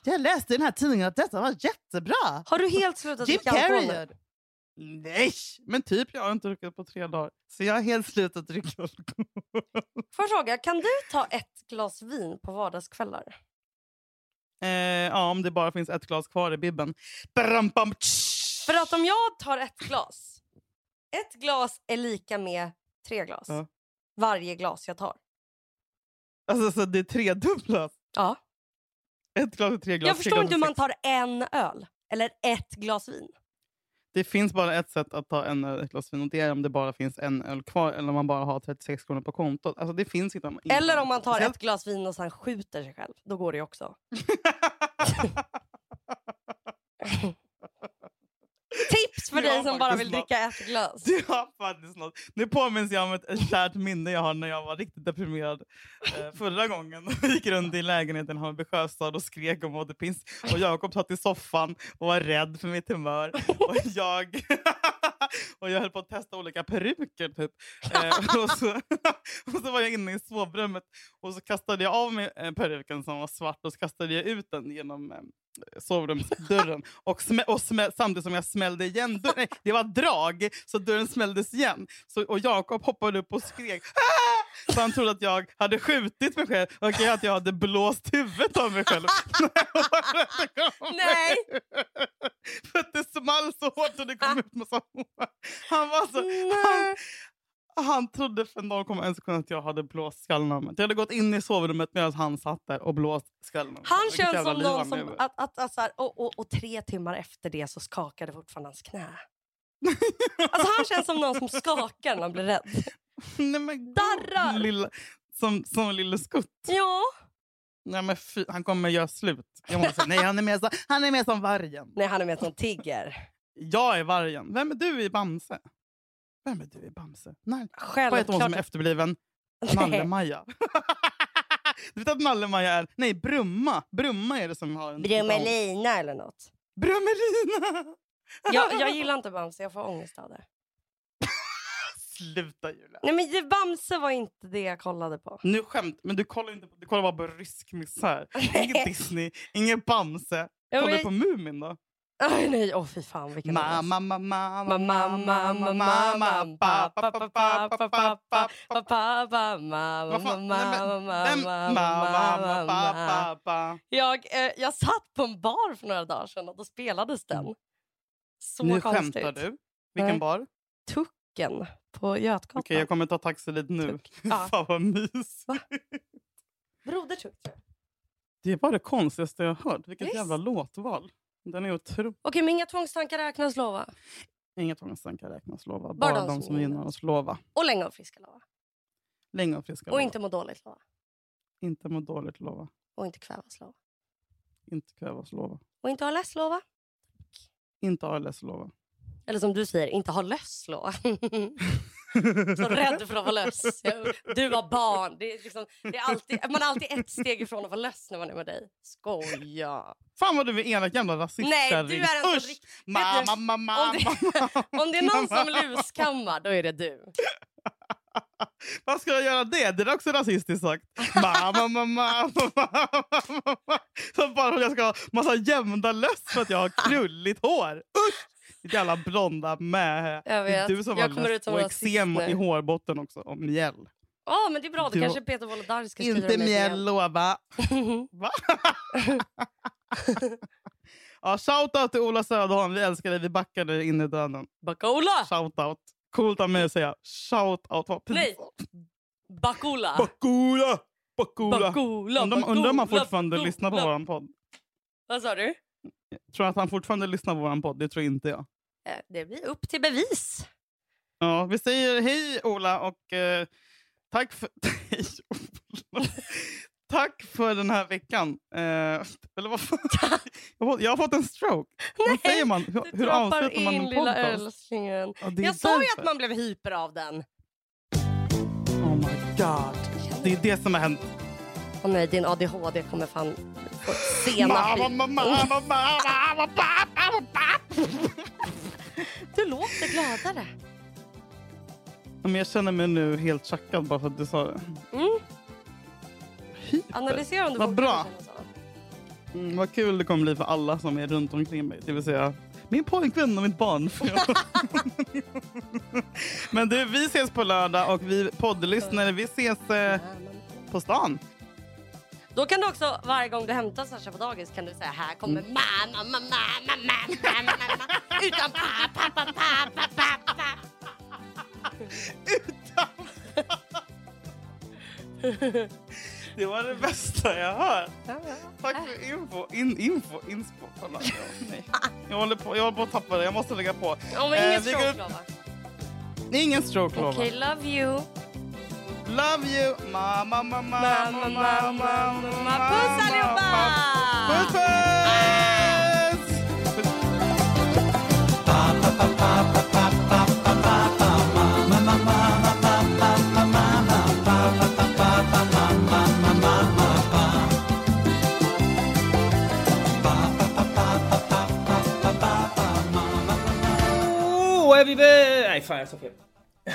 A: Jag läste i den här tidningen att detta var jättebra.
B: Har du helt slutat
A: Jim
B: dricka alkohol
A: Carrey
B: nu?
A: gör det. Nej, men typ jag har inte druckit på tre dagar. Så jag har helt slutat dricka alkohol.
B: Får jag fråga, kan du ta ett glas vin på vardagskvällar?
A: Eh, ja, om det bara finns ett glas kvar i bibben. Bram, bam, tsch.
B: För att om jag tar ett glas, ett glas är lika med tre glas.
A: Ja.
B: Varje glas jag tar.
A: Alltså, så det är tredubblat.
B: Ja.
A: Ett glas och tre glas.
B: Jag
A: tre
B: förstår
A: glas
B: inte
A: och
B: hur man
A: sex.
B: tar en öl eller ett glas vin.
A: Det finns bara ett sätt att ta en öl, ett glas vin och det är om det bara finns en öl kvar eller om man bara har 36 kronor på kontot. Alltså, det finns inte någon-
B: Eller om man tar
A: Speciellt-
B: ett glas vin och sen skjuter sig själv. Då går det ju också. Tips för
A: Ja,
B: dig som bara
A: faktiskt
B: vill
A: bra.
B: dricka ett glas.
A: Du har faktiskt något. Nu påminns jag om ett, ett kärt minne jag har när jag var riktigt deprimerad eh, förra gången. Jag gick runt i lägenheten i Hammarby sjöstad och skrek om vad det finns. Och Jakob satt i soffan och var rädd för mitt humör. Och jag, och jag höll på att testa olika peruker typ. Eh, och, så, och så var jag inne i sovrummet och så kastade jag av mig eh, peruken som var svart och så kastade jag ut den genom eh, sovrumsdörren och, smä- och smä- samtidigt som jag smällde igen dörren. Nej, det var drag, så dörren smälldes igen. Så, och Jakob hoppade upp och skrek. "Ah!" Så han trodde att jag hade skjutit mig själv och att jag hade blåst huvudet av mig själv. när jag var ute.
B: Nej.
A: För att det small så hårt och det kom ut massa hår. Han var så...
B: Nej.
A: Han, han trodde för 0,1 sekund att jag hade blåst skallen av mig. Jag hade gått in i sovrummet medan han satt där och blåst skallen av mig.
B: Han
A: Vilket
B: känns
A: jävla
B: som
A: liv han
B: någon som...
A: lever.
B: Att, att, att, så här, och, och, och tre timmar efter det så skakade fortfarande hans knä. Alltså han känns som någon som skakar när han blir rädd.
A: Nej, men
B: Darrar.
A: gud, Lilla, som, som Lille Skutt.
B: Ja.
A: Nej, men fy, han kommer göra slut. Jag måste säga, nej, han är, med som, han är med som vargen.
B: Nej, han är med som tigger.
A: Jag är vargen. Vem är du i Bamse? Vem är du i Bamse? Nej. Vad heter hon som är
B: Självklart.
A: efterbliven? Nalle-Maja. du vet att Nalle-Maja är... Nej, Brumma. Brumma är det som har en...
B: Brummelina eller något.
A: Brummelina!
B: Jag, jag gillar inte Bamse, jag får ångest av det.
A: Sluta Julia.
B: Nej men det- Bamse var inte det jag kollade på.
A: Nu skämt, men du kollar, inte, på- du kollar bara på rysk misär. Inget Disney, inget Bamse.
B: Ja,
A: Kollar
B: men-
A: du på Mumin då?
B: Aj, nej, åh fy fan vilken ångest.
A: Mamma, mamma,
B: Ma- ma- ma- ma- ma- ma- pa- pa- pa- pa- pa- pa- pa- pa- pa- pa- ma-
A: Vad
B: ma-
A: fan? Nej, men-
B: ma- ma-
A: Vem-
B: ma-
A: Mamma,
B: ma-
A: mamma, pa,
B: ma.
A: pa, pa.
B: Jag, eh, jag satt på en bar för några dagar sedan och då spelades den. Så
A: Mm. Nu
B: konstigt.
A: skämtar du.
B: Nej.
A: Vilken bar?
B: Tucken på Götgatan.
A: Okej, jag kommer ta taxi dit nu.
B: Tuck. Ja.
A: Fan vad mys.
B: Va? Broder Tuck tror jag.
A: Det var det konstigaste jag har hört. Vilket
B: Visst.
A: jävla låtval. Den är otrolig.
B: Okej, men inga tvångstankar räknas lova.
A: Inget ångestankar räknas lova. Bara, Bara de som gynnar oss lova.
B: Och länge och friska lova.
A: Länge och friska
B: Och
A: lova.
B: inte må dåligt lova.
A: inte må dåligt lova.
B: Och inte kvävas lova.
A: Inte kvävas lova.
B: Och inte ha less lova.
A: Inte ALS lova.
B: Eller som du säger, inte ha löss lova. Så rädd för att vara löss. Jag- Du var barn. Det är liksom, det är alltid, man är alltid ett steg ifrån att vara löss när man är med dig. Skoja.
A: Fan vad du är elak jävla rasist
B: Nej, du
A: kärring.
B: är en
A: Usch!
B: sån riktig...
A: Mamma,
B: du-
A: mamma,
B: om det-
A: mamma.
B: Om det är någon som luskammar, då är det du.
A: Vad ska jag göra det? Det är också rasistiskt sagt. Mamma, mamma, mamma, mamma, mamma. Så bara för att jag ska ha massa jämnda löss för att jag har krulligt hår. Usch! Ditt jävla blonda mähä.
B: Jag
A: Det är
B: vet.
A: du som
B: jag
A: har
B: kommer
A: löss
B: ut som
A: och
B: rasist
A: eksem
B: nu.
A: i hårbotten också. Och mjäll.
B: Ja, men det är bra. Då
A: Du-
B: kanske Peter Wolodarski ska skriva
A: Inte
B: mig
A: mjäll, lova.
B: igen.
A: Va? ja, shoutout till Ola Söderholm. Vi älskar dig. Vi backar dig in i döden.
B: Bakula!
A: Shoutout. Coolt av mig att säga shoutout. Vad
B: Nej.
A: pinsamt.
B: Bakula!
A: Bakula! Bakula!
B: Bakula!
A: Undrar undra om han
B: Bakula,
A: fortfarande
B: Bakula.
A: lyssnar på vår podd.
B: Vad sa du?
A: Tror att han fortfarande lyssnar på vår podd? Det tror inte jag.
B: Eh, Det blir upp till bevis.
A: Ja, vi säger hej Ola och eh, tack för... Hej Ola. Tack för den här veckan. Eh, eller vad fan? Jag har fått- Jag har fått en stroke. Vad säger man? Hur,
B: Du
A: hur
B: trappar
A: avslutar man
B: in,
A: en
B: lilla
A: podcast?
B: älsklingen.
A: Ja, det är
B: Jag sa ju
A: därför.
B: att man blev hyper av den.
A: Oh my god. Det är det som har hänt.
B: Åh nej, din ADHD kommer fan få senap
A: Mamma,
B: i-
A: mamma, mamma, mamma, mamma, mamma.
B: Du låter gladare.
A: Men jag känner mig nu helt chackad bara för att du sa det.
B: Mm.
A: Hyper.
B: Analysera om du alltså.
A: Vad
B: vågar
A: bra.
B: känna så.
A: Mm, vad kul det kommer bli för alla som är runt omkring mig. Det vill säga min pojkvän och mitt barn. Men du, vi ses på lördag och vi poddlyssnare, vi ses eh, på stan.
B: Då kan du också varje gång du hämtar Sasha på dagis kan du säga här kommer
A: Mm.
B: mamma, mamma, mamma, mamma, mamma utan pappa, pappa, pappa, pappa.
A: Det var det bästa jag hört. Tack för info. In, info, inspo. Kolla, ja, nej. Jag håller på jag håller på att tappa det. Jag måste lägga på.
B: Om
A: Eh,
B: ingen
A: vi går
B: stroke
A: upp-
B: lova.
A: Ingen stroke, lovar.
B: Okej, love you.
A: Love you, mamma, mamma,
B: Mamma,
A: mamma,
B: mamma,
A: mamma,
B: mamma. Puss allihopa! Ah!
A: Puss, puss! Puss.
E: Oh, every day. Nej, fan jag sa fel.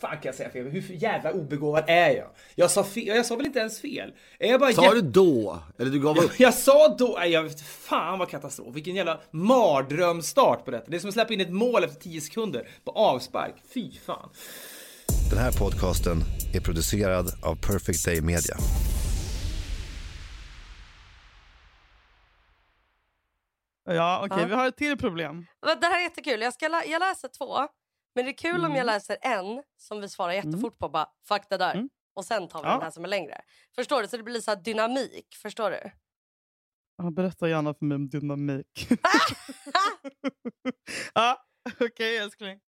E: fan kan jag säga fel? Hur jävla obegåvad är jag? Jag sa fel, jag sa väl inte ens fel? Är jag bara
F: Sa du då? Eller du gav upp?
E: Jag sa då, nej, jag vet, fan vad katastrof, vilken jävla mardrömstart på detta. Det är som att släppa in ett mål efter 10 sekunder på avspark. Fy fan.
G: Den här podcasten är producerad av Perfect Day Media.
A: Ja, okej,
B: Ja.
A: vi har ett till problem.
B: Va, Det här är jättekul. Jag, ska lä- jag läser två. Men det är kul om jag läser en som vi svarar jättefort på. Bara, fuck det där.
A: Mm.
B: Och sen tar vi
A: Ja.
B: den här som är längre. Förstår du? Så det blir så här dynamik. Förstår du?
A: Ja, Berätta gärna för mig om dynamik. ja, okej älskling.